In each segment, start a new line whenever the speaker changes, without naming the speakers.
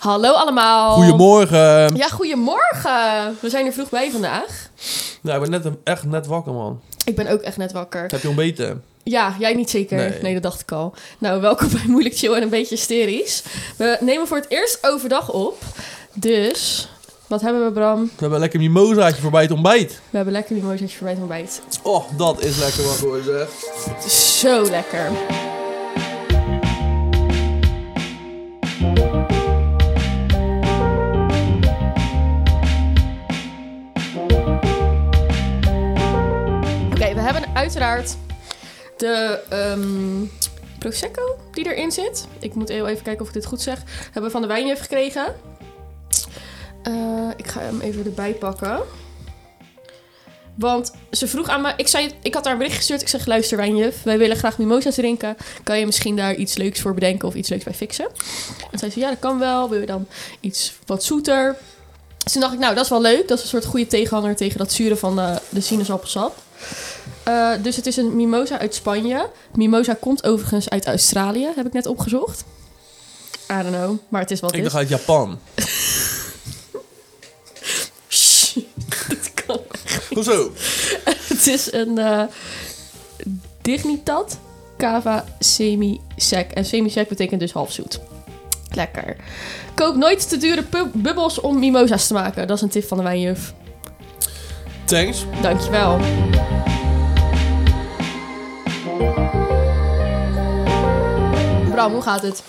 Hallo allemaal.
Goedemorgen.
Ja, goedemorgen. We zijn er vroeg bij vandaag.
Nou, ik ben net, echt net wakker, man.
Ik ben ook echt net wakker.
Heb je ontbeten?
Ja, jij niet zeker?
Nee.
dat dacht ik al. Nou, welkom bij Moeilijk Chill en een beetje hysterisch. We nemen voor het eerst overdag op. Dus, wat hebben we Bram?
We hebben een lekker mimosaatje voorbij het ontbijt.
We hebben lekker limoentjes voorbij het ontbijt.
Oh, dat is lekker wat hoor, zeg.
Het is zo lekker. Oké, we hebben uiteraard de ehm, Prosecco die erin zit. Ik moet heel even kijken of ik dit goed zeg. Hebben we van de wijnjuf gekregen. Eh, ik ga hem even erbij pakken. Want ze vroeg aan me, ik, zei, ik had haar een bericht gestuurd. Ik zeg, luister wijnjuf, wij willen graag mimosa's drinken. Kan je misschien daar iets leuks voor bedenken of iets leuks bij fixen? En zij zei, ja, dat kan wel. Wil je dan iets wat zoeter? Dus toen dacht ik, nou, dat is wel leuk. Dat is een soort goede tegenhanger tegen dat zure van eh, de sinaasappelsap. Eh, dus het is een mimosa uit Spanje. Mimosa komt overigens uit Australië, heb ik net opgezocht. I don't know, maar het is wat
Ik
het is.
dacht uit Japan.
Shh, dat kan
Hoezo?
Het is een eh, Dignitat Cava semi-sec. En semi-sec betekent dus halfzoet. Lekker. Koop nooit te dure pub- bubbels om mimosa's te maken. Dat is een tip van de wijnjuf.
Thanks.
Dankjewel. Bram, hoe gaat het?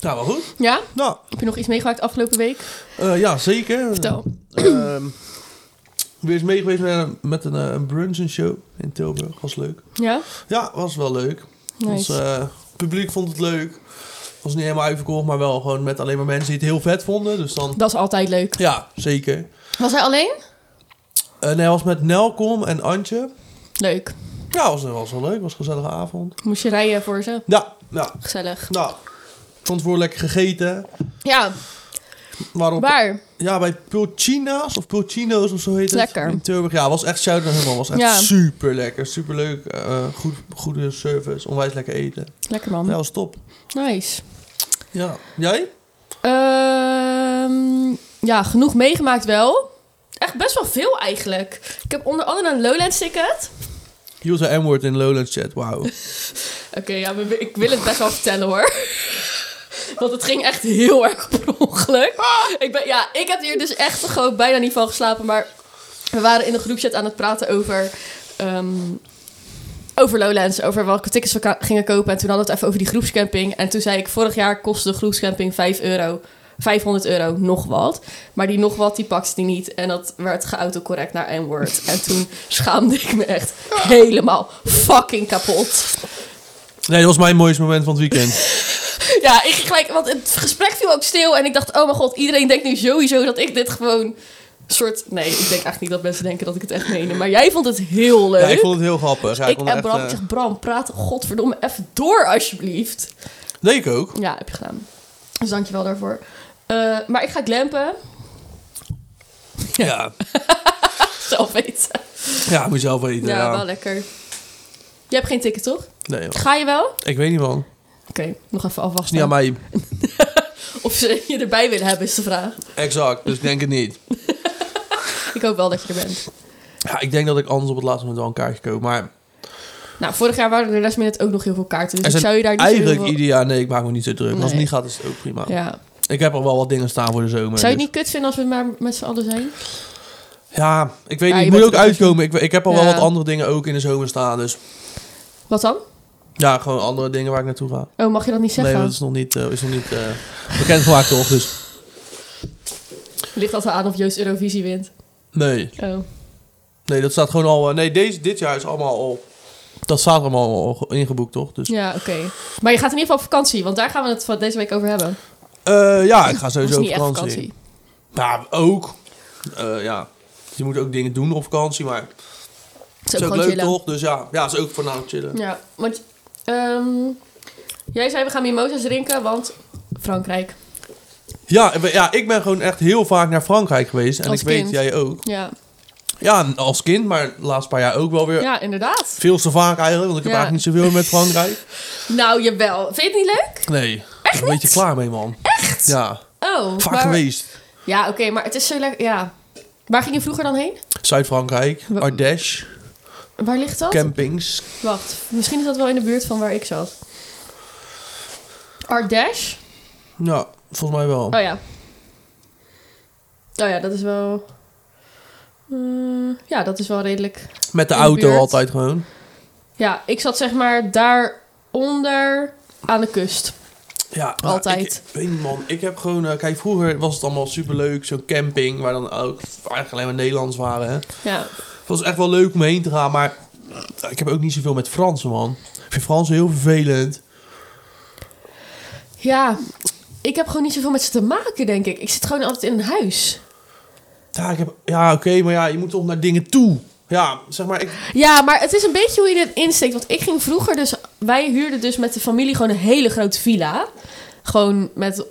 Nou, wel goed.
Ja?
Nou,
Heb je nog iets meegemaakt afgelopen week?
eh, ja, zeker.
Vertel.
Ehm, weer eens mee geweest met een, met een, eh, een brunch en show in Tilburg. Was leuk.
Ja?
Ja, was wel leuk.
Nice.
Was, eh, het publiek vond het leuk. Was niet helemaal uitverkocht, maar wel gewoon met alleen maar mensen die het heel vet vonden. Dus dan...
Dat is altijd leuk.
Ja, zeker.
Was hij alleen?
Eh, nee, hij was met Nelkom en Antje.
Leuk.
Ja, was, eh, was wel leuk. Was een gezellige avond.
Moest je rijden voor ze?
Ja, ja.
Gezellig.
Nou, van tevoren lekker gegeten.
Ja,
Waarop,
waar?
ja, bij Pulcina's of Pulcino's of zo heet
Lekker.
het. In Tilburg. Ja, was echt shout helemaal. Was echt
Ja.
super lekker. Super leuk. goed, goede service. Onwijs lekker eten.
Lekker man.
Ja, was top.
Nice.
Ja. Jij?
Ehm, ja, genoeg meegemaakt wel. Echt best wel veel eigenlijk. Ik heb onder andere een Lowlands ticket.
User M-word in Lowlands chat. Wauw.
Oké, ja, maar ik wil het best wel vertellen hoor. Want het ging echt heel erg per ongeluk. Ik, ben, ja, ik heb hier dus echt gewoon bijna niet van geslapen. Maar we waren in een groepchat aan het praten over... ehm, over Lowlands, over welke tickets we ka- gingen kopen. En toen hadden we het even over die groepscamping. En toen zei ik, vorig jaar kostte de groepscamping 5 euro. 500 euro, nog wat. Maar die nog wat, die pakte die niet. En dat werd geautocorrect naar N-word. En toen schaamde ik me echt helemaal fucking kapot.
Nee, dat was mijn mooiste moment van het weekend.
Ja, ik ging gelijk, want het gesprek viel ook stil. En ik dacht, oh mijn god, iedereen denkt nu sowieso dat ik dit gewoon soort. Nee, ik denk eigenlijk niet dat mensen denken dat ik het echt meen. Maar jij vond het heel leuk.
Ja, ik vond het heel grappig. Ja, ik
Ik
vond
en
het echt,
Bram,
eh,
ik zeg, Bram, praat godverdomme even door alsjeblieft.
Nee, ik ook.
Ja, heb je gedaan. Dus dankjewel daarvoor. Eh, maar ik ga glampen.
Ja.
Zelf weten.
Ja, moet je zelf weten.
Ja,
Ja,
wel lekker. Je hebt geen ticket, toch?
Nee, joh.
Ga je wel? Oké,
ik weet niet, man. Het
nog even
is
afwachten.
niet aan mij.
Of ze je erbij willen hebben, is de vraag.
Exact, dus ik denk het niet.
Ik hoop wel dat je er bent.
Ja, ik denk dat ik anders op het laatste moment wel een kaartje koop. Maar
Nou, vorig jaar waren er last minute ook nog heel veel kaarten. Dus
er
ik zou je daar niet zo heel
eigenlijk
veel-
ieder jaar... Nee, ik maak me niet zo druk. Als het
Nee.
niet gaat, is het ook prima.
Ja.
Ik heb al wel wat dingen staan voor de zomer.
Zou je het
dus-
niet kut vinden als we maar met z'n allen zijn?
Ja, ik weet
Ja,
niet.
je
Ik moet
bent
ook
er ook
uitkomen. Ik, ik heb al wel
Ja.
wat andere dingen ook in de zomer staan. Dus
Wat dan?
ja, gewoon andere dingen waar ik naartoe ga.
Oh, mag je dat niet zeggen?
Nee, dat is nog niet, eh, is nog niet eh, bekendgemaakt, toch? Dus
Ligt altijd aan of Joost Eurovisie wint.
nee.
Oh.
Nee, dat staat gewoon al... eh, nee, deze, dit jaar is allemaal al... Dat staat allemaal al ingeboekt, toch? Dus
Ja, oké. Maar je gaat in ieder geval op vakantie, want daar gaan we het van deze week over hebben.
eh, ja, ik
Dat
ga
is
sowieso op
niet echt
vakantie.
vakantie.
Maar ook... eh, ja, je moet ook dingen doen op vakantie, maar...
Het is
Het is
ook
ook
gewoon
leuk
chillen.
toch? Dus ja, ja, is ook voornamelijk chillen.
Ja, want ehm, jij zei we gaan mimosas drinken, want Frankrijk.
Ja, ik ben- ja, ik ben gewoon echt heel vaak naar Frankrijk geweest. En
Als
ik weet,
kind.
jij ook.
Ja,
Ja, en als kind, maar de laatste paar jaar ook wel weer.
ja inderdaad.
Veel te vaak eigenlijk, want ik heb
Ja.
eigenlijk niet zoveel met Frankrijk.
Nou, jawel. Vind je het niet leuk?
Nee, echt ik ben een beetje klaar mee, man. Echt? Ja.
Oh, Oh.
Vaak
maar-
geweest.
Ja, oké, maar het is zo lekker. Ja. Waar ging je vroeger dan heen?
Zuid-Frankrijk,
Wa-
Ardèche,
Waar ligt dat?
campings.
Wacht, misschien is dat wel in de buurt van waar ik zat. Ardèche?
Ja, volgens mij wel.
Oh ja. Oh ja, dat is wel. Eh, ja, dat is wel redelijk.
Met de
in de
auto
buurt.
altijd gewoon.
Ja, ik zat zeg maar daaronder aan de kust.
Ja, maar
Altijd.
Ik, weet niet, man. Ik heb gewoon... eh, kijk, vroeger was het allemaal superleuk. Zo'n camping, waar dan ook eigenlijk alleen maar Nederlands waren. Hè.
Ja.
Het was echt wel leuk om heen te gaan, maar... Ik heb ook niet zoveel met Fransen, man. Ik vind Fransen heel vervelend.
ja, ik heb gewoon niet zoveel met ze te maken, denk ik. Ik zit gewoon altijd in een huis.
Ja, ik heb- ja oké, maar ja, je moet toch naar dingen toe. Ja, zeg maar, ik,
Ja, maar het is een beetje hoe je dit insteekt. Want ik ging vroeger dus... Wij huurden dus met de familie gewoon een hele grote villa. Gewoon met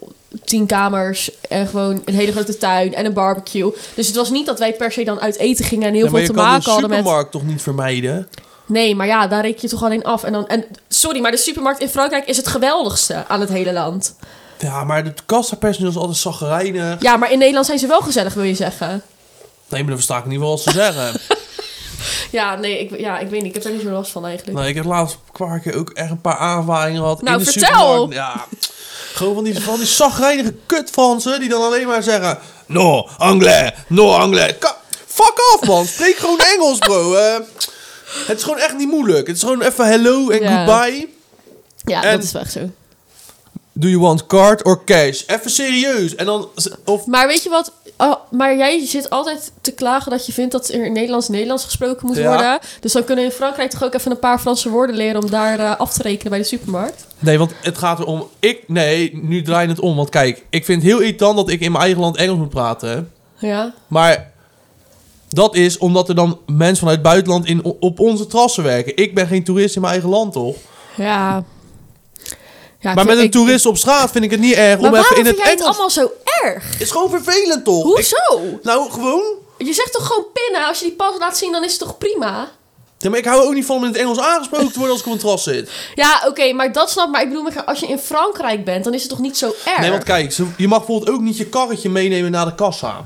tien kamers en gewoon een hele grote tuin en een barbecue. Dus het was niet dat wij per se dan uit eten gingen en heel
Ja, maar
veel te
je kan
maken
de
hadden met...
supermarkt toch niet vermijden?
Nee, maar ja, daar reken je toch alleen af. En dan, en, sorry, maar de supermarkt in Frankrijk is het geweldigste aan het hele land.
Ja, maar het kassapersoneel is altijd zagrijnig.
Ja, maar in Nederland zijn ze wel gezellig, wil je zeggen.
Nee, maar dan versta ik niet wel wat ze zeggen.
Ja, nee, ik, ja, ik weet niet. Ik heb daar niet zo last van eigenlijk.
nou, ik heb laatst een paar keer ook echt een paar aanvaringen gehad
Nou,
in de
vertel!
supermarkt. Ja, gewoon van die, van die zagrijnige kut Fransen die dan alleen maar zeggen... No, anglais, no, anglais. Ka- fuck off, man. Spreek gewoon Engels, bro. Eh, het is gewoon echt niet moeilijk. Het is gewoon even hello en
Ja.
goodbye.
Ja,
en-
dat is wel echt zo.
Do you want card or cash? Even serieus. En dan... Of
Maar weet je wat? Oh, maar jij zit altijd te klagen dat je vindt dat er in Nederlands Nederlands gesproken moet
Ja.
worden. Dus dan kunnen we in Frankrijk toch ook even een paar Franse woorden leren om daar eh, af te rekenen bij de supermarkt.
Nee, want het gaat erom. Ik. Nee, nu draai je het om. Want kijk, ik vind het heel irritant dat ik in mijn eigen land Engels moet praten. hè.
Ja.
Maar dat is omdat er dan mensen vanuit het buitenland in, op onze terrassen werken. Ik ben geen toerist in mijn eigen land, toch?
Ah, Ja. ja
maar met een toerist op straat vind ik het niet erg
Maar
om even
waarom
in
vind
het
jij het
Engels.
allemaal zo erg?
Het is gewoon vervelend, toch? Ik-
Hoezo?
nou, gewoon.
Je zegt toch gewoon pinnen? Als je die pas laat zien, dan is het toch prima?
Ja, maar ik hou ook niet van om in het Engels aangesproken te worden als ik op een terras zit.
Ja, oké, maar dat snap ik. Maar ik bedoel, maar als je in Frankrijk bent, dan is het toch niet zo erg?
Nee, want kijk, ze- je mag bijvoorbeeld ook niet je karretje meenemen naar de kassa.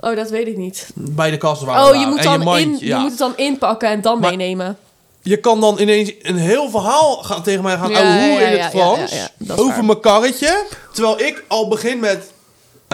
Oh, dat weet ik niet.
Bij de kassa waar we
Oh, je
waren.
moet,
En
dan
mandje,
in, je
ja.
moet het dan inpakken en dan
Maar-
meenemen.
Je kan dan ineens een heel verhaal gaan, tegen mij gaan
Ja,
ouwe hoeren
ja,
in
ja,
het
ja,
Frans.
ja, ja, dat is
over
waar.
mijn karretje. Terwijl ik al begin met...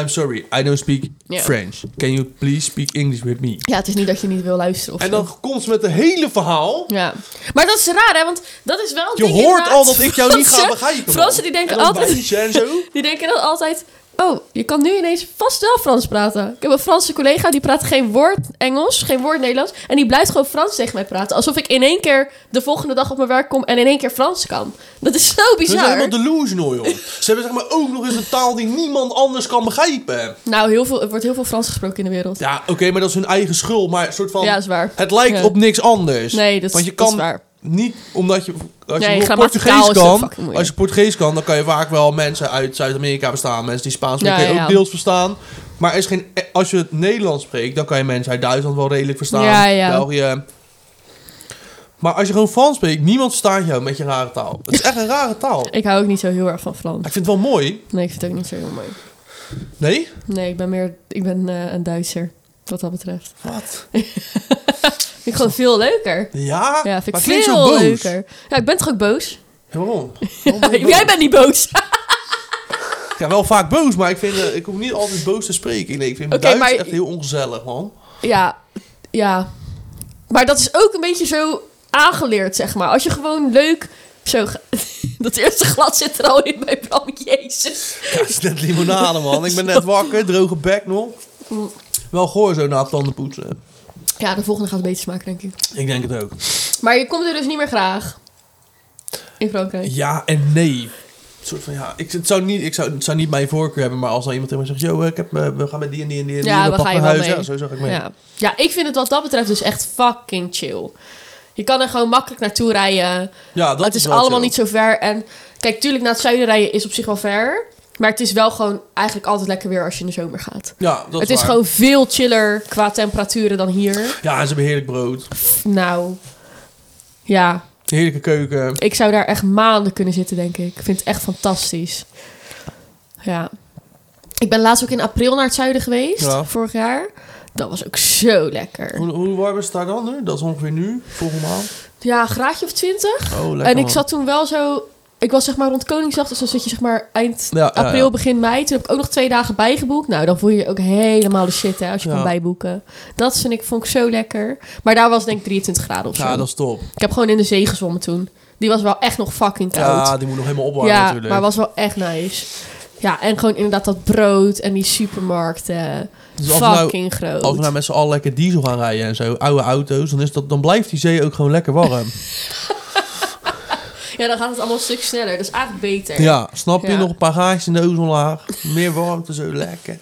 I'm sorry, I don't speak
Ja.
French. Can you please speak English with me?
Ja, het is niet dat je niet wil luisteren. Of
En
zo.
dan komt ze met het hele verhaal.
Ja. Maar dat is raar, hè? Want dat is wel. een
Je
ding
hoort
inderdaad.
al dat ik jou niet ga
Fransen-
begrijpen. man.
Fransen die denken
En dan
altijd.
wijzen En zo.
Die denken dan altijd. Oh, je kan nu ineens vast wel Frans praten. Ik heb een Franse collega die praat geen woord Engels, geen woord Nederlands. En die blijft gewoon Frans tegen mij praten. Alsof ik in één keer de volgende dag op mijn werk kom en in één keer Frans kan. Dat is zo
Ze zijn
bizar.
helemaal delusional, joh. Ze hebben zeg maar ook nog eens een taal die niemand anders kan begrijpen.
Nou, heel veel, er wordt heel veel Frans gesproken in de wereld.
Ja, oké, maar dat is hun eigen schuld. Maar een soort van...
Ja, is waar.
Het lijkt
Ja.
op niks anders.
Nee, dat is-
dus- Want je
dat
kan
is waar.
niet omdat je. Als
Nee,
je
grammaticaal
Portugees
is ook
kan.
fucking moeilijk.
Als je Portugees kan, dan kan je vaak wel mensen uit Zuid-Amerika verstaan. Mensen die Spaans
Ja,
spreken
ja, ja.
ook deels verstaan. Maar er is geen, als je het Nederlands spreekt, dan kan je mensen uit Duitsland wel redelijk verstaan.
Ja, ja.
België. Maar als je gewoon Frans spreekt, niemand verstaat jou met je rare taal. Het is echt een rare taal.
Ik hou ook niet zo heel erg van Frans.
Ik vind het wel mooi.
Nee, ik vind het ook niet zo heel mooi.
Nee?
Nee, ik ben meer ik ben, eh, een Duitser, wat dat betreft.
Wat?
Vind ik gewoon veel leuker.
Ja?
Ja, vind ik
maar klinkt zo
veel
boos.
leuker. Ja, ik ben toch ook boos?
Ja, waarom?
Jij bent niet boos. Oké,
Ja, wel vaak boos, maar ik, vind, eh, ik hoef niet altijd boos te spreken. Nee, ik vind
Oké,
Duits
maar-
echt heel ongezellig, man.
ja, ja. Maar dat is ook een beetje zo aangeleerd, zeg maar. Als je gewoon leuk... Zo, ge- dat eerste glas zit er al in bij Bram, jezus.
Ja, het is net limonade, man. Ik ben net wakker, droge bek nog. Wel goor zo na het tanden poetsen.
Ja, de volgende gaat beter smaken, denk ik.
Ik denk het ook.
Maar je komt er dus niet meer graag. In Frankrijk.
Ja en nee. Een soort van, ja, ik, het zou niet, ik zou, het zou niet mijn voorkeur hebben, maar als dan iemand tegen me zegt... Yo, ik heb, eh, we gaan met die en die en die en die
Ja,
en
we
pak
gaan je
naar
wel
huis."
mee.
Ja, zo zag ik mee.
Ja. ja, ik vind het wat dat betreft dus echt fucking chill. Je kan er gewoon makkelijk naartoe rijden.
Ja, dat
het is
wel
allemaal
zo.
niet zo ver. En kijk, tuurlijk, naar het zuiden rijden is op zich wel ver. Maar het is wel gewoon eigenlijk altijd lekker weer als je in de zomer gaat.
Ja, dat
het is
waar.
gewoon veel chiller qua temperaturen dan hier.
Ja, en ze hebben heerlijk brood.
Nou, ja.
Heerlijke keuken.
Ik zou daar echt maanden kunnen zitten, denk ik. Ik vind het echt fantastisch. Ja. Ik ben laatst ook in april naar het zuiden geweest,
Ja.
vorig jaar. Dat was ook zo lekker.
Hoe, hoe warm is het daar dan nu? Dat is ongeveer nu, volgende maand.
Ja, een graadje of twintig.
Oh, lekker
En ik
man.
zat toen wel zo... Ik was zeg maar rond Koningsdag, dus dan zit je zeg maar eind
Ja, ja, ja.
april, begin mei. Toen heb ik ook nog twee dagen bijgeboekt. Nou, dan voel je je ook helemaal de shit hè, als je
Ja.
kan bijboeken. Dat vind ik, vond ik zo lekker. Maar daar was het denk ik 23 graden of zo.
Ja, dat is top.
Ik heb gewoon in de zee gezwommen toen. Die was wel echt nog fucking koud.
Ja, die moet nog helemaal opwarmen
Ja,
natuurlijk.
maar was wel echt nice. Ja, en gewoon inderdaad dat brood en die supermarkten.
Dus als we nou-
Fucking groot.
Als we nou met z'n allen lekker diesel gaan rijden en zo, oude auto's, dan, is dat, dan blijft die zee ook gewoon lekker warm.
Ja, dan gaat het allemaal een stuk sneller. Dat is eigenlijk beter.
ja, snap je?
Ja.
Nog een paar gaatjes in de ozonlaag, meer warmte, zo lekker.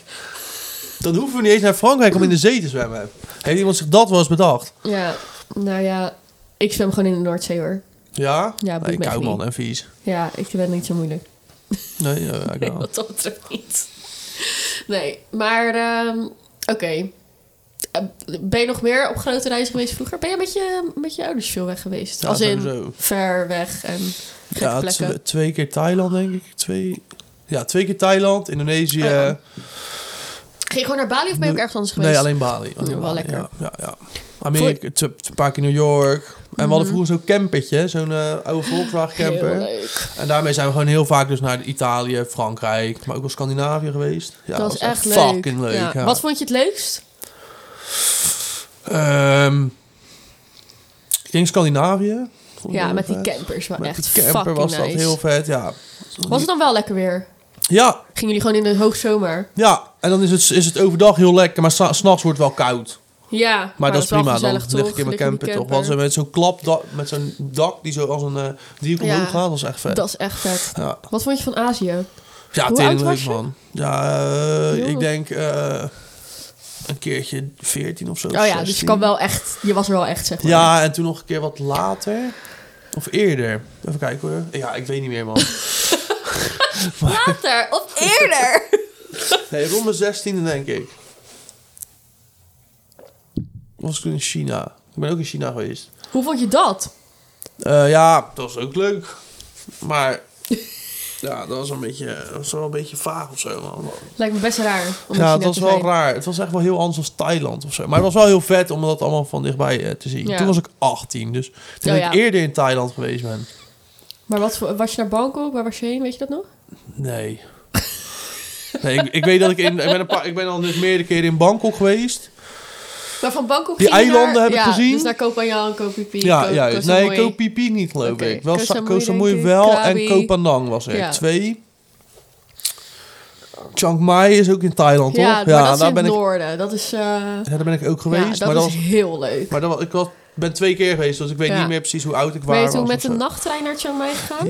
Dan hoeven we niet eens naar Frankrijk om in de zee te zwemmen. Heeft iemand zich dat wel eens bedacht?
Ja, nou ja, ik zwem gewoon in de Noordzee hoor.
Ja?
Ja, boeit
nee,
me echt
koud man
niet.
en vies.
Ja, ik ben niet zo moeilijk.
Nee, ja, ik
Nee,
wel.
wat dat betreft niet. Nee, maar ehm, oké. Eh, Ben je nog meer op grote reizen geweest vroeger? Ben je met je, met je ouders veel weg geweest?
Ja,
Als in
sowieso.
ver weg en gekke
Ja,
plekken.
tw- twee keer Thailand denk ik. Twee... Ja, twee keer Thailand, Indonesië.
Oh ja. Ging je gewoon naar Bali of ben je ook ergens anders geweest?
Nee, alleen Bali. Alleen
wel
Bali,
lekker.
Ja, ja, ja. Amerika, t- t- een paar keer New York. En we
Mhm.
hadden vroeger zo'n campertje, zo'n eh, oude
Heel
Volkswagen-camper.
leuk.
En daarmee zijn we gewoon heel vaak dus naar Italië, Frankrijk, maar ook wel Scandinavië geweest. Ja,
dat was echt leuk.
fucking leuk. ja.
Wat vond je het leukst?
Ehm, ik denk Scandinavië. Vond ik
Ja,
heel
met die
vet.
campers. Maar
Met
echt
die camper
fucking
was
nice.
dat heel vet, ja.
Was het dan wel lekker weer?
Ja,
Gingen jullie gewoon in de hoogzomer?
ja. En dan is het, is het overdag heel lekker, maar s'nachts wordt het wel koud.
Ja,
Maar, dat is
wel
prima, dan
gezellig,
lig
toch?
ik in mijn camper, toch. Want
camper.
zo met zo'n klapdak, met zo'n dak die zo als een eh driehoek
Ja.
omhoog gaat, dat is echt vet.
Dat is echt vet.
Ja,
Wat vond je van Azië?
ja
Hoe
tering
oud was
leuk,
je?
man. Ja, eh,
Heel
ik
leuk.
denk eh, een keertje 14 of zo.
Oh ja, dus
16.
je kan wel echt... Je was er wel echt, zeg maar.
Ja, en toen nog een keer wat later. Of eerder. Even kijken hoor. Ja, ik weet niet meer, man.
Later of eerder.
Nee, rond mijn 16e denk ik. Was ik toen in China. Ik ben ook in China geweest.
Hoe vond je dat?
Eh, ja, dat was ook leuk. Maar ja, dat was, een beetje, dat was wel een beetje vaag of zo. Man.
Lijkt me best raar. Om in
Ja,
China
het was
te
wel
zijn.
raar. Het was echt wel heel anders als Thailand of zo. Maar het was wel heel vet om dat allemaal van dichtbij eh, te zien.
Ja.
Toen was ik 18, dus toen
Oh,
ik
ja.
eerder in Thailand geweest ben.
Maar wat, voor- was je naar Bangkok? Waar was je heen? Weet je dat nog?
Nee. nee ik, ik weet dat ik in. Ik ben, een paar, ik ben al dus meerdere keren in Bangkok geweest.
Maar van Bangkok
Die
ging je
eilanden
naar-
heb ik
ja,
gezien.
dus naar Koh Phangan, Koh Phi Phi,
ja,
Koh-
juist.
Koh
Nee,
Samui.
Koh Phi Phi niet, geloof
Oké,
ik. Wel
Koh
Sa-
Samui,
Koh Samui
denk ik.
wel
Krabi.
en Koh Phanang was er.
Ja.
Twee. Chiang Mai is ook in Thailand,
Ja,
toch?
maar dat is in
nou, ben
het
ik,
noorden. Dat is... eh,
ja, daar ben ik ook geweest.
ja, dat
maar dat
is
was,
heel leuk.
maar dat was, ik was, ben twee keer geweest, dus ik weet
Ja.
niet meer precies hoe oud ik was.
ben je toen met
of
een
zo.
nachttrein naar Chiang Mai gegaan?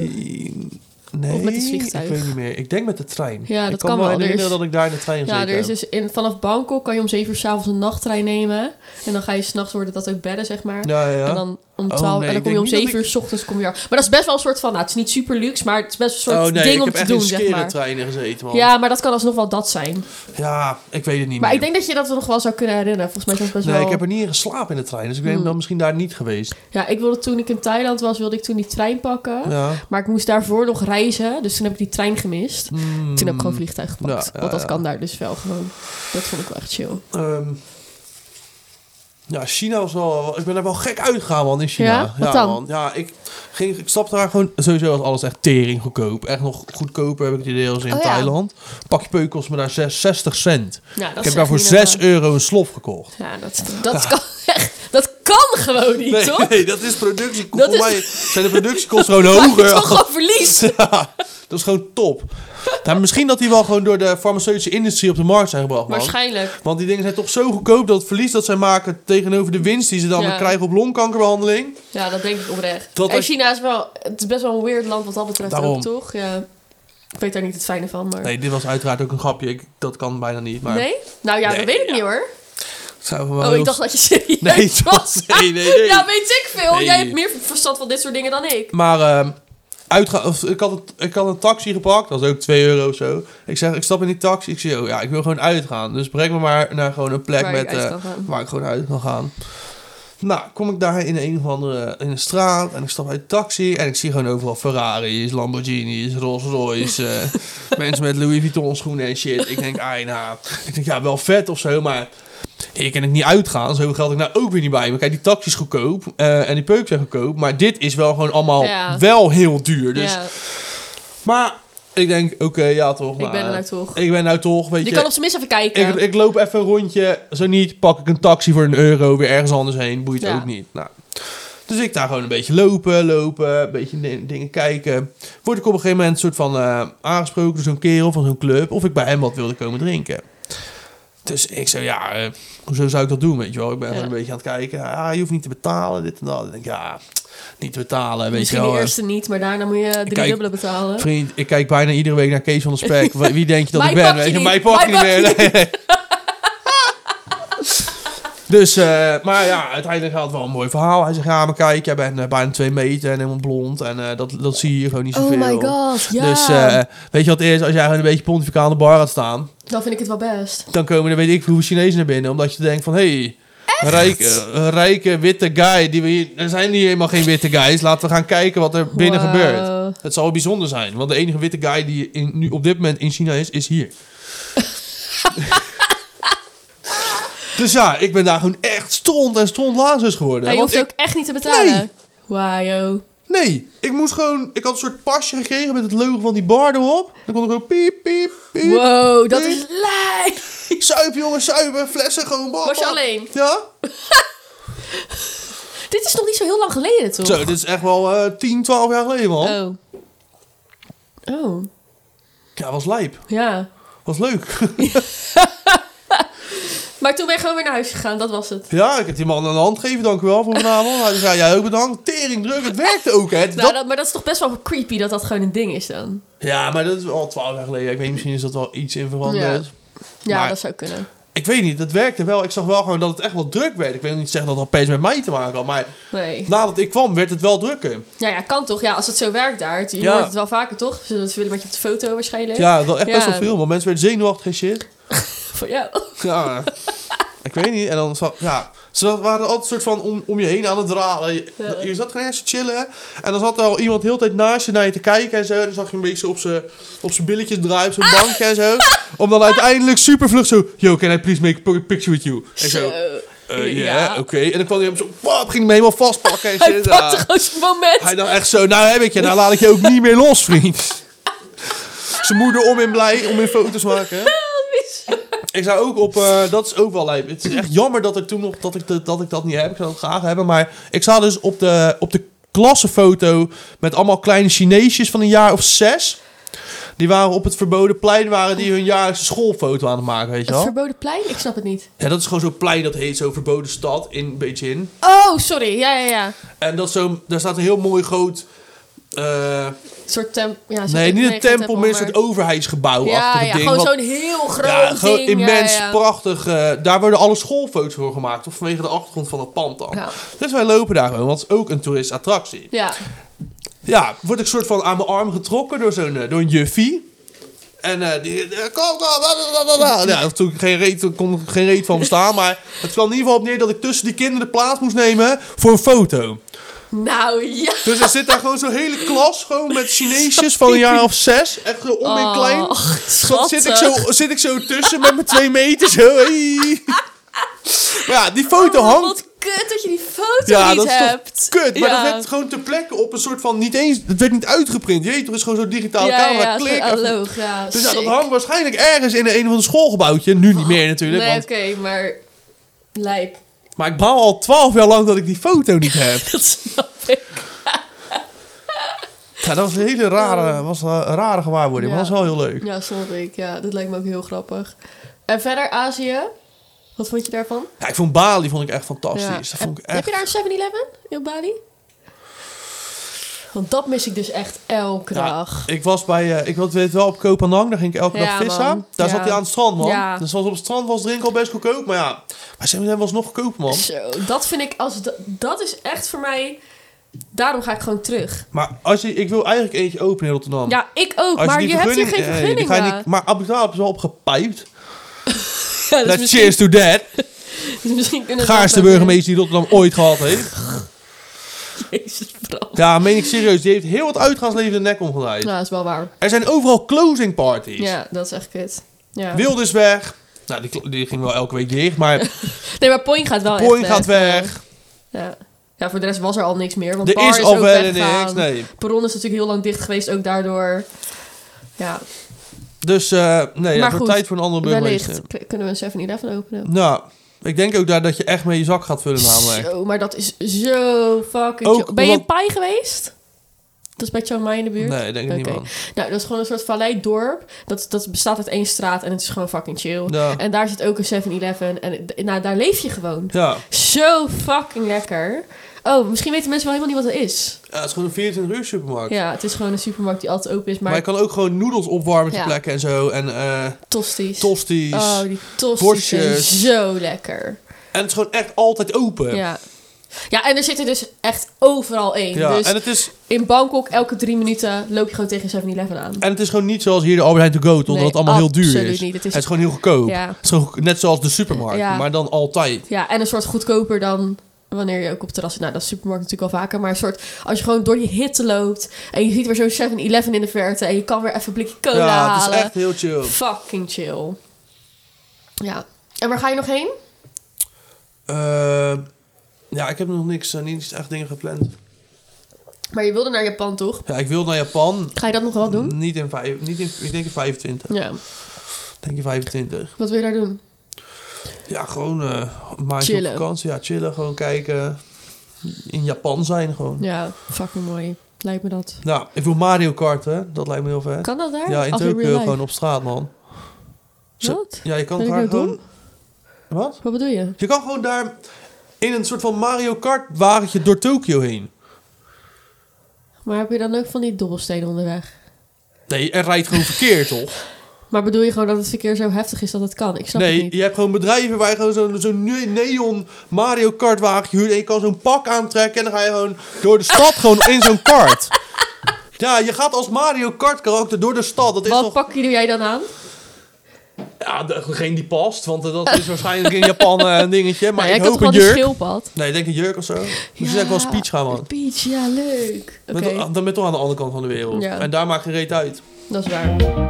Nee,
Of met het vliegtuig?
ik weet niet meer. Ik denk met de trein.
Ja,
ik
dat
kan
kan
me
wel. Er
herinneren
is-
dat ik daar in de trein
Ja,
zat.
er is dus in, vanaf Bangkok kan je om 7 uur s'avonds een nachttrein nemen. En dan ga je s'nachts worden dat ook bedden, zeg maar.
Ja, ja, ja.
En dan om
Oh,
12 en
nee,
dan
ik
kom je
denk
om
niet dat
7 uur s ochtends kom je daar. Maar dat is best wel een soort van, nou, het is niet super luxe, maar het is best een soort
oh nee, ik
ding om
heb
te
echt
doen,
in
zeg
skere
maar.
treinen gezeten, man.
Ja, maar dat kan alsnog wel dat zijn.
Ja, ik weet het niet
Maar
meer.
ik denk dat je dat nog wel zou kunnen herinneren. Volgens mij is dat best
Nee,
wel... Hmm.
ik heb er niet in geslapen in de trein, dus ik ben dan misschien daar niet geweest.
Ja, ik wilde toen ik in Thailand was, wilde ik toen die trein pakken.
Ja.
Maar ik moest daarvoor nog reizen, dus toen heb ik die trein gemist.
Mm,
Toen heb ik gewoon vliegtuig gepakt.
Ja, ja,
want dat
ja.
kan daar dus wel gewoon. Dat vond ik wel echt chill.
ehm, ja, China was wel... Ik ben er wel gek uitgegaan, man, in China.
Ja? Wat dan?
Man. Ja, ik, ging, ik stapte daar gewoon... Sowieso was alles echt tering goedkoop. Echt nog goedkoper heb ik die deels in
Oh, ja.
Thailand. Pakje peuk kost me daar zes- 60 cent.
Nou, dat
ik
is
heb
echt
daar voor
niet
6
normaal.
euro een slof gekocht.
Ja, dat, dat, kan, echt, dat kan gewoon niet,
Nee,
toch?
nee, dat is productie.
Dat
Volgens
is-
mij zijn de productiekosten
Maak
gewoon
je
hoger.
toch gewoon verlies.
Ja, dat is gewoon top. Nou, misschien dat die wel gewoon door de farmaceutische industrie op de markt zijn gebracht, man.
Waarschijnlijk.
Want die dingen zijn toch zo goedkoop dat het verlies dat zij maken tegenover de winst die ze dan
Ja.
weer krijgen op longkankerbehandeling.
Ja, dat denk ik oprecht.
Dat
en
als-
China is wel... Het is best wel een weird land wat dat betreft
Daarom.
ook, toch? Ja. Ik weet daar niet het fijne van, maar...
Nee, dit was uiteraard ook een grapje. Ik, dat kan bijna niet. Maar
Nee? Nou ja,
Nee,
dat weet ik
ja.
niet, hoor.
het zou wel
Oh,
heel-
ik dacht dat je serieus
Nee, het
was.
was- nee, nee, nee.
Ja, weet ik veel.
Nee.
Jij hebt meer verstand van dit soort dingen dan ik.
Maar ehm, uitga- of, ik, had het- ik had een taxi gepakt, dat was ook 2 euro of zo. Ik zeg, ik stap in die taxi, ik zeg, oh, ja, ik wil gewoon uitgaan. Dus breng me maar naar gewoon een plek
Waar je
met,
uit
eh,
kan gaan.
waar ik gewoon uit kan gaan. Nou, kom ik daar in een of andere in een straat en ik stap uit de taxi en ik zie gewoon overal Ferrari's, Lamborghini's, Rolls Royce, eh, mensen met Louis Vuitton schoenen en shit. Ik denk, ai nou, ik denk ja, wel vet of zo, maar hier kan ik niet uitgaan. Zo geld ik nou ook weer niet bij. Maar kijk, die taxi is goedkoop eh, en die peuken zijn goedkoop, maar dit is wel gewoon allemaal
Ja.
wel heel duur. Dus,
ja,
maar ik denk, oké, ja toch.
ik ben er nou
nou
toch.
Ik ben nou toch, weet je.
Je kan op zijn minst even kijken.
Ik, ik loop even een rondje. Zo niet, pak ik een taxi voor een euro weer ergens anders heen. Boeit
Ja.
ook niet. Nou. Dus ik daar gewoon een beetje lopen, lopen, een beetje di- dingen kijken. Word ik op een gegeven moment soort van eh, aangesproken door zo'n kerel van zo'n club. Of ik bij hem wat wilde komen drinken. Dus ik zei, ja, eh, hoezo zou ik dat doen, weet je wel? Ik ben
Ja.
gewoon een beetje aan het kijken. Ah, je hoeft niet te betalen, dit en dat. Ik denk, ja, niet te betalen, weet
Misschien
je wel. eh,
de eerste niet, maar daarna moet je drie
kijk-
dubbele betalen.
Vriend, ik kijk bijna iedere week naar Kees van der Spek. Wie wie denk je dat
Mij
ik ben?
pak je
Weet je?
niet.
Mij pak je niet
Mij
meer.
pak je
Nee, nee. Dus, eh, maar ja, uiteindelijk had het wel een mooi verhaal. Hij zegt, ja, maar kijk, jij bent eh, bijna twee meter en helemaal blond. En eh, dat, dat zie je hier gewoon niet
Oh
zoveel.
my god, ja.
Dus eh, weet je wat het is? Als jij gewoon een beetje pontificaal aan de bar gaat staan...
Dan vind ik het wel best.
dan komen er weet ik hoeveel Chinezen naar binnen. Omdat je denkt van, hey, rijke, eh, rijke witte guy. Die we hier, er zijn hier helemaal geen witte guys. Laten we gaan kijken wat er binnen
Wow.
gebeurt. Het zal wel bijzonder zijn, want de enige witte guy die in, nu op dit moment in China is, is hier. dus ja, ik ben daar gewoon echt stond en stond lazers geworden.
En je
want
hoeft
ik,
ook echt niet te betalen.
Nee.
Wauw, joh.
Nee, ik moest gewoon. Ik had een soort pasje gekregen met het logo van die bar erop. Dan kon ik gewoon piep, piep, piep.
Wow, dat
Nee.
is lijp.
Zuipen, jongens, zuipen, flessen gewoon. bam,
Was je
bam.
alleen?
Ja?
Dit is nog niet zo heel lang geleden, toch?
Zo, dit is echt wel eh 10, 12 jaar geleden, man.
Oh. Oh,
Ja, was lijp.
ja.
Was leuk.
Maar toen ben je gewoon weer naar huis gegaan, dat was het.
ja, ik heb die man aan de hand gegeven, dank u wel voor vanavond. Hij zei, jij ook bedankt. Tering druk, het werkte ook, hè.
Nou,
Dat-
dat, maar dat is toch best wel creepy dat dat gewoon een ding is dan.
Ja, maar dat is al twaalf jaar geleden. Ik weet niet, misschien is dat wel iets in
Ja.
veranderd.
Ja,
Maar-
dat zou kunnen.
Ik weet niet, het werkte wel. Ik zag wel gewoon dat het echt wel druk werd. Ik wil niet zeggen dat het opeens met mij te maken had, maar
Nee.
nadat ik kwam werd het wel drukker.
Ja, ja, kan toch? Ja, als het zo werkt daar. Je
Ja.
hoort het wel vaker, toch? Ze ze willen met je op de foto waarschijnlijk.
Ja, wel echt best
Ja.
wel veel, want mensen werden zenuwachtig en shit.
Van oh, jou.
Ja, ik weet niet. En dan zat, ja, ze waren altijd soort van om, om je heen aan het dralen. Je,
Ja.
je zat gewoon echt te chillen. En dan zat er al iemand de hele tijd naast je naar je te kijken en zo. En dan zag je een beetje zo op zijn op zijn billetjes draaien, op zijn bankje en zo. Om dan uiteindelijk supervlug zo, yo, can I please make a picture with you? En zo. Eh, ja,
Ja.
oké. En dan kwam hij hem zo, pap, ging hij hem helemaal vastpakken en
Hij
shit.
pakt
Ja.
gewoon zijn moment.
Hij dan echt zo, nou heb ik je, nou laat ik je ook niet meer los, vriend. Zijn moeder om in blij, om in foto's maken. Ik zou ook op, eh, dat is ook wel lijp. Het is echt jammer dat ik toen nog, dat ik, de- dat, ik dat niet heb. Ik zou dat graag hebben, maar ik sta dus op de, op de klassenfoto met allemaal kleine Chineesjes van een jaar of zes. Die waren op het verboden plein, waren die hun jaarlijkse schoolfoto aan het maken, weet je
Het
wel.
verboden plein? Ik snap het niet.
Ja, dat is gewoon zo'n plein dat heet zo verboden stad in Beijing.
Oh, sorry. Ja, ja, ja.
En dat is zo, daar staat een heel mooi groot. eh,
Een soort tem ja, zo'n-
nee, niet een
geen
tempel, meer een soort
maar-
overheidsgebouw-achtig
Ja, ja,
ding.
gewoon
wat-
zo'n heel groot
ja, gewoon
ding.
immens,
ja, ja.
prachtig. eh, daar worden alle schoolfoto's voor gemaakt. Of vanwege de achtergrond van het pand dan.
Ja.
Dus wij lopen daar gewoon, want het is ook een toeristattractie.
Ja.
Ja, word ik soort van aan mijn arm getrokken door, zo'n, eh, door een juffie. En eh, die... eh, kom, kom, blablabla. Ja, toen ik geen reet, toen kon ik geen reet van bestaan. Maar het kwam in ieder geval op neer dat ik tussen die kinderen plaats moest nemen voor een foto.
Nou, ja.
Dus er zit daar gewoon zo'n hele klas gewoon met Chineesjes van een jaar of zes. Echt zo om en klein.
Oh,
Dan zit ik, zo,
schattig.
zit ik zo tussen met mijn twee meter zo. hey. Maar ja, die foto
Oh,
hangt.
Wat kut dat je die foto
Ja,
niet
dat is toch
hebt.
kut. Maar
Ja.
dat werd gewoon ter plekke op een soort van niet eens... Het werd niet uitgeprint. Jeet, er is gewoon zo'n digitale
ja,
camera.
Ja,
klik.
ja, zo'n analoog, ja.
dus ja, dat
sick. Oh,
hangt waarschijnlijk ergens in een of ander schoolgebouwtje. Nu niet meer natuurlijk.
Nee,
want,
oké, maar... Lijp.
Maar ik baal al twaalf jaar lang dat ik die foto niet heb.
Dat snap ik.
Ja, dat was een hele
Oh.
rare, was een rare gewaarwording. Maar
Ja.
dat was wel heel leuk.
Ja, snap ik. Ja, dat lijkt me ook heel grappig. En verder Azië. Wat vond je daarvan?
Ja, ik vond Bali vond ik echt fantastisch.
Ja.
Dat vond ik
Heb
echt...
je daar een 7-Eleven in Bali? Want dat mis ik dus echt elke
Ja,
dag.
ik was bij, eh, ik was- weet wel, op Kopenhagen, daar ging ik elke
Ja,
dag vissen.
man.
Daar
Ja.
zat hij aan het strand, man.
Ja.
Dus was op het strand was drinken al best goedkoop, maar ja. Maar ze was nog goedkoper, man.
Zo, dat vind ik als... dat- Dat is echt voor mij... Daarom ga ik gewoon terug.
Maar als je, ik wil eigenlijk eentje openen in Rotterdam.
Ja, ik ook.
Als
maar
die
je hebt hier geen
vergunning- eh,
vergunning
die ga je
aan.
niet- maar Abu Dhabi is wel opgepijpt.
eh. Ja, dat is
Let's
misschien-
cheers to that.
Dus misschien kunnen we
Gaarste
dat wel
burgemeester die Rotterdam ooit gehad heeft.
weer- Jezus, vrouw.
Ja, meen ik serieus. Die heeft heel het uitgaansleven de nek omgedraaid.
Nou, dat is wel waar.
Er zijn overal closing parties.
Ja, dat is echt kut. Ja.
Wilders weg. Nou, die, die ging wel elke week dicht, maar
Nee, maar Point gaat wel
Point
Oh, echt eh.
gaat weg.
Ja. ja, voor de rest was er al niks meer. Want
Er
Bar
is
is,
al
ook
verder
weggegaan.
niks, nee.
Perron is natuurlijk heel lang dicht geweest, ook daardoor. Ja,
Dus eh, nee, ja,
Maar
het wordt
goed,
tijd voor een andere burgemeester.
wellicht k- kunnen we een 7-Eleven openen.
Nou, ik denk ook daar dat je echt mee je zak gaat vullen namelijk.
Zo, maar dat is zo fucking...
Ook
chill. ben je in
omdat-
Pai geweest? Dat is bij Chiang Mai in de buurt?
Nee, ik denk ik niet
Oké.
man.
Nou, dat is gewoon een soort valleidorp. Dat, dat bestaat uit één straat en het is gewoon fucking chill.
Ja.
En daar zit ook een 7-Eleven. En d- nou, daar leef je gewoon.
Ja.
Zo fucking lekker. Oh, misschien weten mensen wel helemaal niet wat het is.
ja, het is gewoon een 24 uur supermarkt.
Ja, het is gewoon een supermarkt die altijd open is,
Maar,
maar,
je kan ook gewoon noedels opwarmen ter
Ja.
plekke en zo. En eh
tosties.
tosties.
Oh, die tosties zijn
Borstjes.
zo lekker.
En het is gewoon echt altijd open.
Ja. Ja, en er zitten dus echt overal één.
Ja,
dus
en, het is,
in Bangkok elke drie minuten loop je gewoon tegen 7-Eleven aan.
en het is gewoon niet zoals hier de Albert Heijn To Go, omdat
Nee,
het allemaal heel duur is.
absoluut niet. Het is-
gewoon heel goedkoop.
Ja.
Het is gewoon goedko- net zoals de supermarkt,
Ja.
maar dan altijd.
Ja, en een soort goedkoper dan wanneer je ook op terras zit. Nou, dat is supermarkt natuurlijk al vaker. Maar een soort, als je gewoon door die hitte loopt en je ziet weer zo'n 7-Eleven in de verte en je kan weer even een blikje cola
ja, het
halen.
is echt heel chill.
Fucking chill. Ja. En waar ga je nog heen?
Eh, ja, ik heb nog niks, eh, niet echt dingen gepland.
Maar je wilde naar Japan, toch?
Ja, ik wil naar Japan.
Ga je dat nog wel doen?
Niet in vijf, niet in, ik denk in 25.
Ja.
Ik Denk in 25.
Wat wil je daar doen?
Ja, gewoon eh een maandje
Chillen.
op vakantie. Ja, chillen, gewoon kijken. In Japan zijn gewoon.
Ja, fucking mooi. Lijkt me dat.
Nou, ik wil Mario Kart, hè. Dat lijkt me heel vet.
Kan dat daar?
Ja, in
Als in
Tokio
real life?
gewoon op straat, man. Zo-
Wat?
Ja, je kan
Ben ik
daar
nou
gewoon...
dom?
Wat?
Wat bedoel je?
Je kan gewoon daar in een soort van Mario Kart wagentje door Tokio heen.
Maar heb je dan ook van die dobbelstenen onderweg?
Nee, er rijdt gewoon verkeer, toch?
Maar bedoel je gewoon dat het verkeer zo heftig is dat het kan? Ik snap het
Nee,
niet.
je hebt gewoon bedrijven waar je gewoon zo'n zo'n ne- neon Mario Kart wagentje huurt... en je kan zo'n pak aantrekken en dan ga je gewoon door de stad gewoon in zo'n kart. Ja, je gaat als Mario Kart karakter door de stad. Dat is
Wat
toch...
pakje doe jij dan aan?
Ja, degene die past, want eh, dat is waarschijnlijk in Japan eh, een dingetje. Maar
nou,
ik
jij kan
hoop een
toch wel die
jurk.
schildpad?
Nee, ik denk een jurk of zo. Misschien zou ik wel een speech gaan, man.
Speech, ja, leuk. Oké,
Met- Dan ben je toch aan de andere kant van de wereld.
Ja.
En daar maakt geen reet uit.
dat is waar.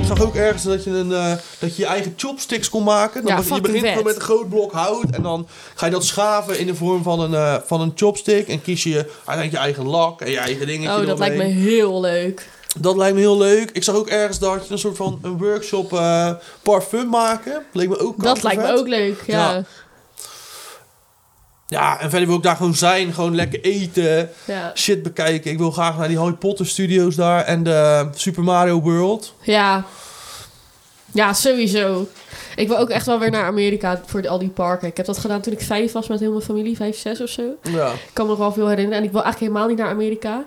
Ik zag ook ergens dat je, een, eh, dat je je eigen chopsticks kon maken. Dan
Ja,
be- je
fucking
begint
vet.
gewoon met een groot blok hout. En dan ga je dat schaven in de vorm van een, eh, van een chopstick. En kies je uiteindelijk je eigen lak en je eigen dingetje.
Oh, dat lijkt me
eromheen.
heel leuk.
dat lijkt me heel leuk. Ik zag ook ergens dat je een soort van een workshop eh, parfum maken. Leek me ook
Dat lijkt me
kankervet.
ook leuk, ja.
Ja. Ja, en verder wil ik daar gewoon zijn. Gewoon lekker eten.
Ja,
Shit bekijken. Ik wil graag naar die Harry Potter studios daar. En de Super Mario World.
ja. Ja, sowieso. Ik wil ook echt wel weer naar Amerika voor al die parken. Ik heb dat gedaan toen ik vijf was met heel mijn familie, vijf, zes of zo.
Ja.
Ik kan me nog wel veel herinneren. En ik wil eigenlijk helemaal niet naar Amerika.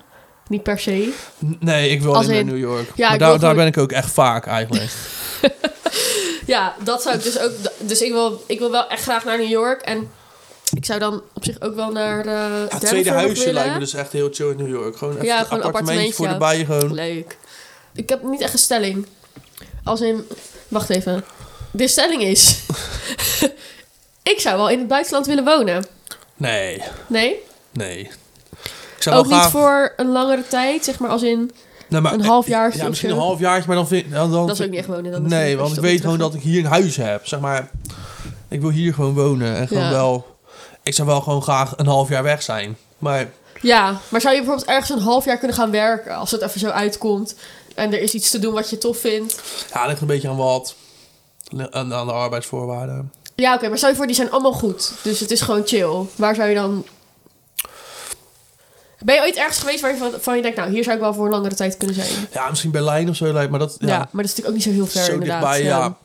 Niet per se.
N- Nee, ik wil
Als
in, naar
in-
New York.
Ja,
maar
ik
daar,
wil
daar
gewoon-
ben ik ook echt vaak eigenlijk.
Ja, dat zou ik dus ook. Dus ik wil, ik wil wel echt graag naar New York. En ik zou dan op zich ook wel naar. eh
Ja, het
Denver
tweede
nog
huisje
willen.
lijkt me dus echt heel chill in New York. Gewoon echt
Ja,
een
gewoon een
appartementje voor de bij
appartementje.
gewoon.
Leuk. Ik heb niet echt een stelling. Als in. Wacht even. De stelling is. ik zou wel in het buitenland willen wonen.
Nee,
Nee?
nee. Ik zou
ook
wel graag...
niet voor een langere tijd, zeg maar. Als in.
Nee, maar-
een halfjaartje
Ja,
of
misschien
zo.
een halfjaartje, maar dan vind dan, dan
Dat is ook niet echt wonen. Dan
Nee, want ik weet gewoon dat ik hier een huis heb. Zeg maar, ik wil hier gewoon wonen. En gewoon
Ja.
wel... Ik zou wel gewoon graag een half jaar weg zijn. Maar
Ja, maar zou je bijvoorbeeld ergens een half jaar kunnen gaan werken als het even zo uitkomt en er is iets te doen wat je tof vindt?
ja, dat ligt een beetje aan wat. Aan, aan de arbeidsvoorwaarden.
Ja, oké, maar stel je voor, die zijn allemaal goed. Dus het is gewoon chill. Waar zou je dan. Ben je ooit ergens geweest waar je van, van je denkt, nou, hier zou ik wel voor een langere tijd kunnen zijn? Ja,
Ja, misschien Berlijn of zo lijkt maar dat... Ja,
maar dat is natuurlijk ook niet zo heel ver,
zo
inderdaad.
dichtbij, ja.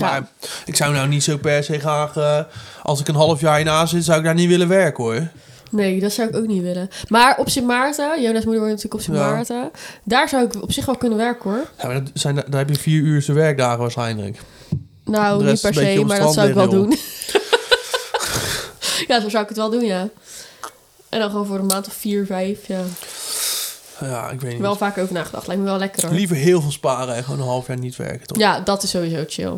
Maar ik zou nou niet zo per se graag... eh, als ik een half jaar hierna zit, zou ik daar niet willen werken, hoor.
Nee, dat zou ik ook niet willen. Maar op Sint Maarten, Jonas' moeder woont natuurlijk op Sint
Ja.
Maarten. Daar zou ik op zich wel kunnen werken hoor.
Ja, maar dat zijn, daar heb je vier uurse werkdagen waarschijnlijk.
Nou,
De
niet
rest
per
een beetje
se,
op
maar dat
strand
zou ik wel
liggen,
doen. ja, zo zou ik het wel doen, ja. En dan gewoon voor een maand of vier, vijf, ja.
Ja, ik weet niet.
Wel vaker over nagedacht. Lijkt me wel lekker hoor.
Liever heel veel sparen en gewoon een half jaar niet werken, toch?
Ja, dat is sowieso chill.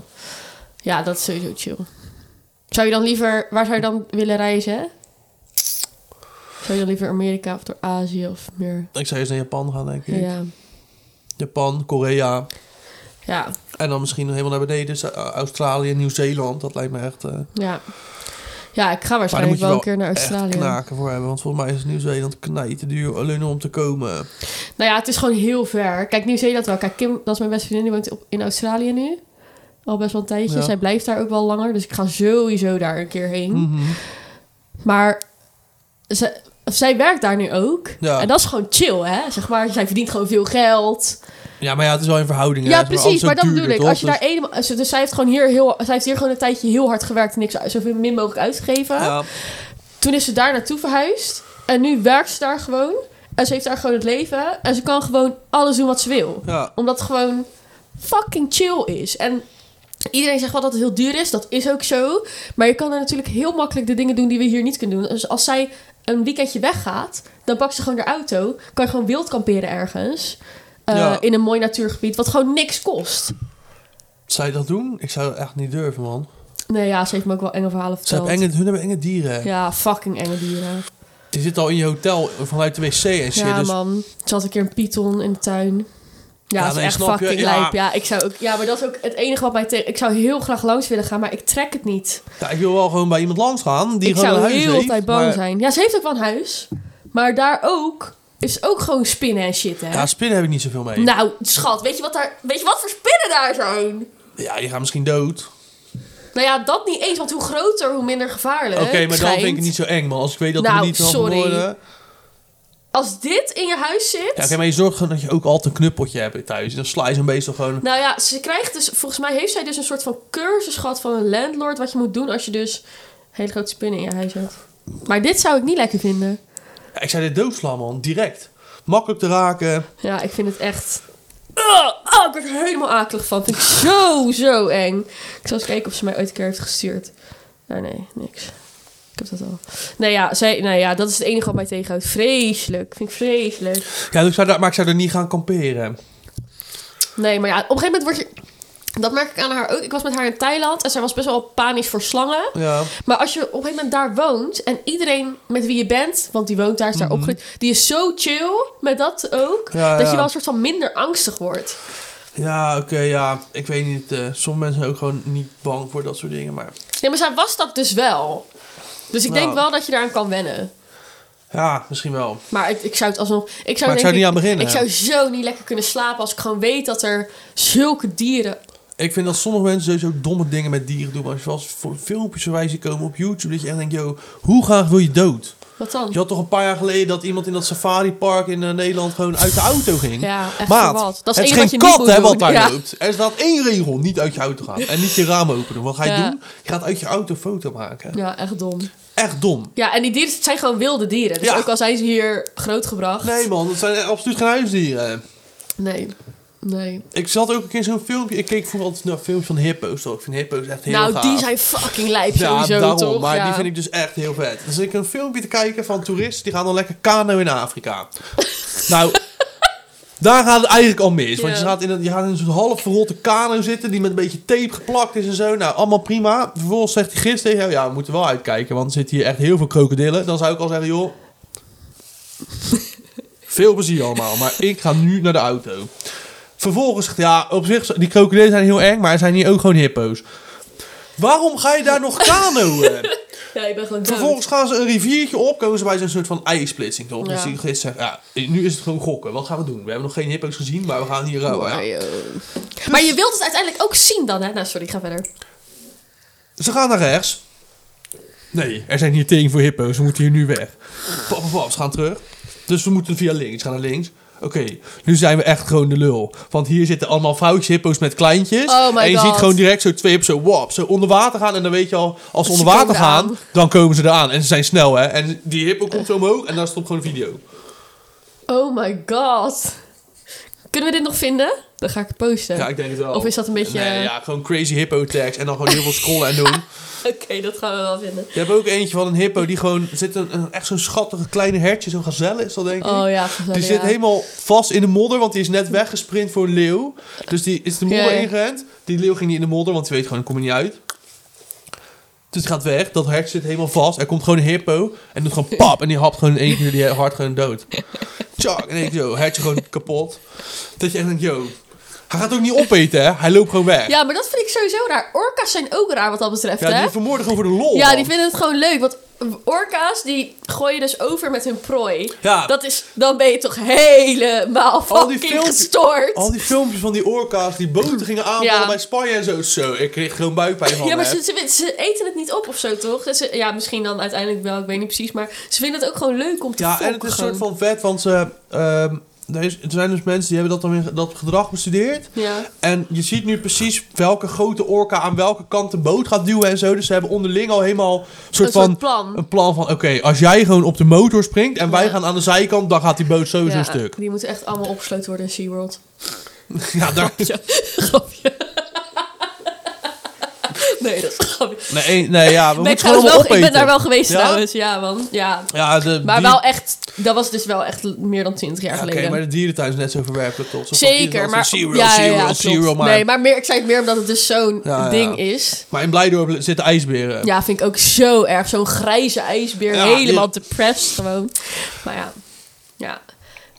Ja, dat is sowieso chill. Zou je dan liever... Waar zou je dan willen reizen? Zou je dan liever Amerika of door Azië of meer...
Ik zou eerst naar Japan gaan, denk ik.
Ja.
Japan, Korea.
Ja.
En dan misschien nog helemaal naar beneden. Zu- eh, Australië, Nieuw-Zeeland. Dat lijkt me echt... eh,
Ja. Ja, ik ga
maar dan moet
waarschijnlijk
je
wel
wel
een keer naar Australië.
echt knaken voor hebben. Want volgens mij is Nieuw-Zeeland knijt te duur alleen om te komen.
Nou ja, het is gewoon heel ver. Kijk, Nieuw-Zeeland wel. Kijk, Kim, dat is mijn beste vriendin, die woont op, in Australië nu. Al best wel een tijdje.
Ja.
Zij blijft daar ook wel langer. Dus ik ga sowieso daar een keer heen.
Mhm.
Maar ze, zij werkt daar nu ook.
Ja.
En dat is gewoon chill, hè? Zeg maar, zij verdient gewoon veel geld.
Ja, maar ja, het is wel in verhouding.
Ja,
hè. Het is
precies.
alles ook
Maar dat
duurder,
bedoel ik.
toch?
Als je
Dus-
daar eenmaal... Dus dus zij heeft, gewoon hier heel, zij heeft hier gewoon een tijdje heel hard gewerkt... en niks, zoveel min mogelijk uitgegeven.
Ja,
Toen is ze daar naartoe verhuisd. En nu werkt ze daar gewoon. En ze heeft daar gewoon het leven. En ze kan gewoon alles doen wat ze wil.
ja.
Omdat het gewoon fucking chill is. En iedereen zegt wel dat het heel duur is. Dat is ook zo. Maar je kan er natuurlijk heel makkelijk de dingen doen die we hier niet kunnen doen. Dus als zij een weekendje weggaat, dan pakt ze gewoon haar auto. Kan je gewoon wild kamperen ergens. eh,
Ja.
In een mooi natuurgebied, wat gewoon niks kost.
Zou je dat doen? Ik zou het echt niet durven, man.
Nee, ja, ze heeft me ook wel enge verhalen
Ze
verteld.
hebben enge, hun hebben enge dieren.
Ja, fucking enge dieren.
Die zitten al in je hotel vanuit de wc en shit.
Ja,
dus
man. Ze had een keer een python in de tuin. Ja,
Ja,
dat is
nee,
echt
snap je.
fucking
Ja.
lijp. Ja, ik zou ook, ja, maar dat is ook het enige wat mij tegen... Ik zou heel graag langs willen gaan, maar ik trek het niet.
ja, ik wil wel gewoon bij iemand langs gaan die
ik
gewoon
zou
een huis
heel
heeft.
tijd bang
maar-
zijn. Ja, ze heeft ook wel een huis. Maar daar ook is ook gewoon spinnen en shit, hè?
Ja, spinnen heb ik niet zoveel mee.
nou, schat, weet je, wat daar, weet je wat voor spinnen daar zijn?
Ja, die gaan misschien dood.
Nou ja, dat niet eens, want hoe groter, hoe minder gevaarlijk.
Oké, maar dan
Eh, schijnt.
vind ik het niet zo eng, man. Als ik weet dat we
Nou,
niet van
sorry.
worden. Ja,
Als dit in je huis zit...
oké, maar je zorgt gewoon dat je ook altijd een knuppeltje hebt thuis. Dan sla je zo'n beest toch gewoon...
Nou ja, ze krijgt dus, volgens mij heeft zij dus een soort van cursus gehad van een landlord. Wat je moet doen als je dus hele grote spinnen in je huis hebt. Maar dit zou ik niet lekker vinden.
Ja, ik zou dit doodslaan, man. Direct. Makkelijk te raken.
Ja, ik vind het echt. Ugh, oh, ik word er helemaal akelig van. Vind ik zo, zo eng. Ik zal eens kijken of ze mij ooit een keer heeft gestuurd. Nou, nee, niks. Ik heb dat al. Nou ja, zij, nou ja dat is het enige wat mij tegenhoudt. Vreselijk. Vind ik vreselijk.
Ja, dus ik zou daar, maar ik zou er niet gaan kamperen.
Nee, maar ja, op een gegeven moment word je. Dat merk ik aan haar ook. Ik was met haar in Thailand en zij was best wel panisch voor slangen.
Ja.
Maar als je op een gegeven moment daar woont en iedereen met wie je bent, want die woont daar, is daar opgegroeid, die is zo chill met dat ook,
Mhm. Ja,
dat
ja.
je wel een soort van minder angstig wordt.
Ja, oké, ja. Ik weet niet. eh, sommige mensen zijn ook gewoon niet bang voor dat soort dingen. Maar
Nee, maar zij was dat dus wel. Dus ik denk
Nou.
wel dat je daaraan kan wennen.
ja, misschien wel.
Maar ik, ik zou het alsnog. Ik zou,
Maar ik
denk
zou niet aan beginnen.
Ik zou zo niet lekker kunnen slapen als ik gewoon weet dat er zulke dieren.
Ik vind dat sommige mensen sowieso domme dingen met dieren doen. Maar zoals voor filmpjes voorbij zien komen op YouTube. Dat je echt denkt, yo, hoe graag wil je dood?
Wat dan?
Je had toch een paar jaar geleden dat iemand in dat safaripark in eh, Nederland gewoon uit de auto ging?
Ja, echt
Maat,
voor wat. Dat is
het
één
is
wat
geen
je niet
kat
moet
hè,
doen.
wat daar
Ja.
loopt. Er staat één regel, niet uit je auto gaan. En niet je raam open doen. Wat ga je
Ja.
doen? Je gaat uit je auto een foto maken.
Ja, echt dom.
Echt dom.
Ja, en die dieren het zijn gewoon wilde dieren. Dus
Ja.
ook al zijn ze hier grootgebracht.
Nee man, dat zijn absoluut geen huisdieren.
Nee. Nee.
Ik zat ook een keer in zo'n filmpje. Ik keek vroeger altijd naar filmpjes van hippo's. Toch? Ik vind hippo's echt heel
nou,
gaaf.
die zijn fucking lijp sowieso,
daarom.
toch?
Maar
ja.
die vind ik dus echt heel vet. Dus ik een filmpje te kijken van toeristen. Die gaan dan lekker kano in Afrika. nou, daar gaat het eigenlijk al mis. Want
Ja.
je gaat in, een- je gaat in zo'n half verrotte kano zitten. Die met een beetje tape geplakt is en zo. Nou, allemaal prima. Vervolgens zegt die gids tegen jou. Ja, we moeten wel uitkijken. Want er zitten hier echt heel veel krokodillen. Dan zou ik al zeggen, joh... Veel plezier allemaal, maar ik ga nu naar de auto. Vervolgens, zegt hij, ja, op zich, die krokodillen zijn heel eng, maar er zijn hier ook gewoon hippo's. Waarom ga je daar nog kanoën?
Ja, ik ben gewoon dood.
Vervolgens gaan ze een riviertje op, komen ze bij zo'n soort van ijsplitsing. Toch? Dus
Ja.
die gids zegt, ja, nu is het gewoon gokken. Wat gaan we doen? We hebben nog geen hippo's gezien, maar we gaan hier eh, rouwen. Ja.
Maar, joh. Maar je wilt het uiteindelijk ook zien dan, hè? Nou, sorry, ga verder.
Ze gaan naar rechts. Nee, er zijn hier tegen voor hippo's. We moeten hier nu weg. Pap, pap, pap, ze gaan terug. Dus we moeten via links. Gaan naar links. Oké, nu zijn we echt gewoon de lul. Want hier zitten allemaal vrouwtjes hippo's met kleintjes.
Oh my
en je
God.
ziet gewoon direct zo twee hippo's zo, wap, zo onder water gaan. En dan weet je al, als ze
Ze
onder water
komen
gaan,
aan.
dan komen ze eraan. En ze zijn snel, hè. En die hippo
Eh.
komt zo omhoog en dan stopt gewoon de video.
Oh my god. Kunnen we dit nog vinden? Dan ga ik het posten.
Ja, ik denk het wel.
Of is dat een beetje- eh,
Nee, ja, gewoon crazy hippo tags en dan gewoon heel veel scrollen en doen.
Oké, dat gaan we wel vinden.
Je hebt ook eentje van een hippo die gewoon... Er zit een, een- echt zo'n schattige kleine hertje, zo'n gazelle is dat denk ik.
Oh ja, gezellig,
Die zit
ja.
helemaal vast in de modder, want die is net weggesprint voor een leeuw. Dus die is de modder
Ja, ja.
ingerend. Die leeuw ging niet in de modder, want die weet gewoon, ik kom er niet uit. Dus het gaat weg, dat hert zit helemaal vast. Er komt gewoon een hippo en doet gewoon pap. En die hapt gewoon in één keer die hart gewoon dood. Tjak, en ik zo, hertje gewoon kapot. Dat je echt denkt, yo, hij gaat ook niet opeten, hè? Hij loopt gewoon weg.
Ja, maar dat vind ik sowieso raar. Orka's zijn ook raar wat dat betreft,
Ja,
hè?
die vermoorden gewoon voor de lol.
Ja,
man.
die vinden het gewoon leuk. Want orka's, die gooien dus over met hun prooi.
Ja.
Dat is, dan ben je toch helemaal
Al die
fucking
filmpjes-
gestoord.
Al die filmpjes van die orka's die boten gingen aanvallen
Ja.
bij Spanje en zo. Zo, ik kreeg gewoon buikpijn van.
Ja, maar
hè.
ze, ze, ze eten het niet op of zo, toch? Dus Ze, ja, misschien dan uiteindelijk wel, ik weet niet precies. Maar ze vinden het ook gewoon leuk om te
Ja, en
fokken
het is een
gewoon.
soort van vet, want ze, ehm, er, is- er zijn dus mensen die hebben dat, dan weer, dat gedrag bestudeerd.
Ja.
En je ziet nu precies welke grote orka aan welke kant de boot gaat duwen en zo. Dus ze hebben onderling al helemaal een soort
Een
van...
soort plan.
Een plan van, oké, als jij gewoon op de motor springt en wij
Ja.
gaan aan de zijkant, dan gaat die boot sowieso
Ja,
stuk.
Die moeten echt allemaal opgesloten worden in SeaWorld.
Ja, daar...
Grapje. nee, dat is een grapje.
Nee, nee, ja, we
Ben ik,
moeten gewoon
trouwens
allemaal
wel,
opeten.
ik ben daar wel geweest
Ja?
trouwens, ja man. Ja.
Ja, de,
Maar
dier-
wel echt, dat was dus wel echt meer dan 20 jaar
Ja, Oké,
geleden.
maar de dierentuin is net zo verwerpelijk tot. Zo van,
Zeker,
iedereen
maar...
zegt, Cereal,
ja, ja,
cereal,
ja, klopt.
cereal, maar...
Nee, maar meer, ik zei het meer omdat het dus zo'n
Ja, ja.
ding is.
Maar in Blijdorp zitten ijsberen.
Ja, vind ik ook zo erg. Zo'n grijze ijsbeer,
Ja,
helemaal
die-
depressed gewoon. Maar ja, ja.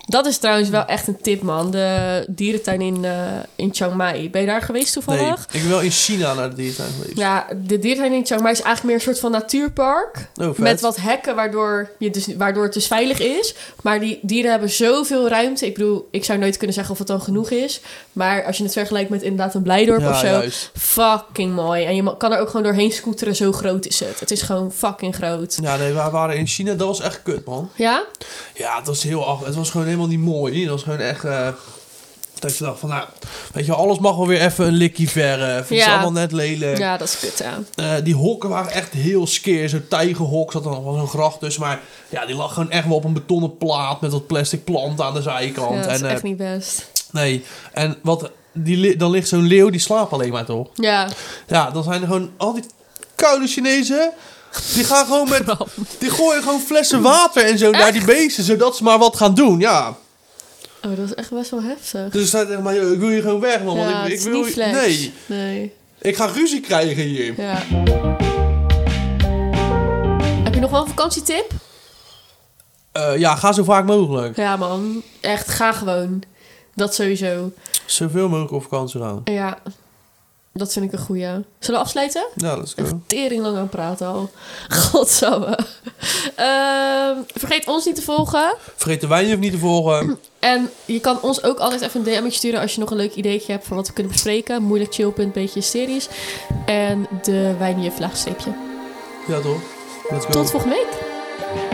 Dat is trouwens wel echt een tip, man. De dierentuin in, eh, in Chiang Mai. Ben je daar geweest
nee,
toevallig?
ik ben wel in China naar de dierentuin geweest.
Ja, de dierentuin in Chiang Mai is eigenlijk meer een soort van natuurpark.
Oh, vet.
met wat hekken, waardoor, je dus, waardoor het dus veilig is. Maar die dieren hebben zoveel ruimte. Ik bedoel, ik zou nooit kunnen zeggen of het dan genoeg is. Maar als je het vergelijkt met inderdaad een Blijdorp
Ja,
of zo...
juist.
Fucking mooi. En je ma- kan er ook gewoon doorheen scooteren, zo groot is het. Het is gewoon fucking groot.
Ja, nee, we waren in China. Dat was echt kut, man.
Ja?
Ja, het was heel af. Het was gewoon helemaal niet mooi. Het was gewoon echt... eh, dat je dacht van, nou... Weet je, alles mag wel weer even een likkie verf. Het is
Ja.
allemaal net lelijk.
Ja, dat is kut, ja.
Eh, die hokken waren echt heel skeer. Zo'n tijgerhok zat er nog wel zo'n gracht tussen. Maar ja, die lag gewoon echt wel op een betonnen plaat... met dat plastic plant aan de zijkant.
ja dat is
en, eh,
echt niet best.
Nee, en wat... Die, li- dan ligt zo'n leeuw, die slaapt alleen maar, toch?
Ja.
Ja, dan zijn er gewoon al die koude Chinezen. Die gaan gewoon met. Die gooien gewoon flessen water en zo naar die beesten, zodat ze maar wat gaan doen. Ja.
Oh, dat is echt best wel heftig.
Dus ze zei tegen mij: "Yo, ik wil hier gewoon weg, man. want
ja,
ik,
het
ik
is
wil
niet
hier-
flex.
Nee,
Nee.
ik ga ruzie krijgen hier.
Ja. Heb je nog wel een vakantietip?
Eh, ja, ga zo vaak mogelijk.
Ja, man. Echt, ga gewoon. Dat sowieso.
Zoveel mogelijk op vakantie gaan.
Ja, dat vind ik een goeie. Zullen we afsluiten?
Ja, let's
Echt
go.
tering lang aan het praten al. Godsamme. Ehm, vergeet ons niet te volgen.
Vergeet de wijn niet te volgen.
En je kan ons ook altijd even een DM'tje sturen als je nog een leuk ideetje hebt van wat we kunnen bespreken. Moeilijk chill, punt, beetje series. En de wijnjuf laagstreepje.
Ja, toch? Let's go.
Tot volgende week.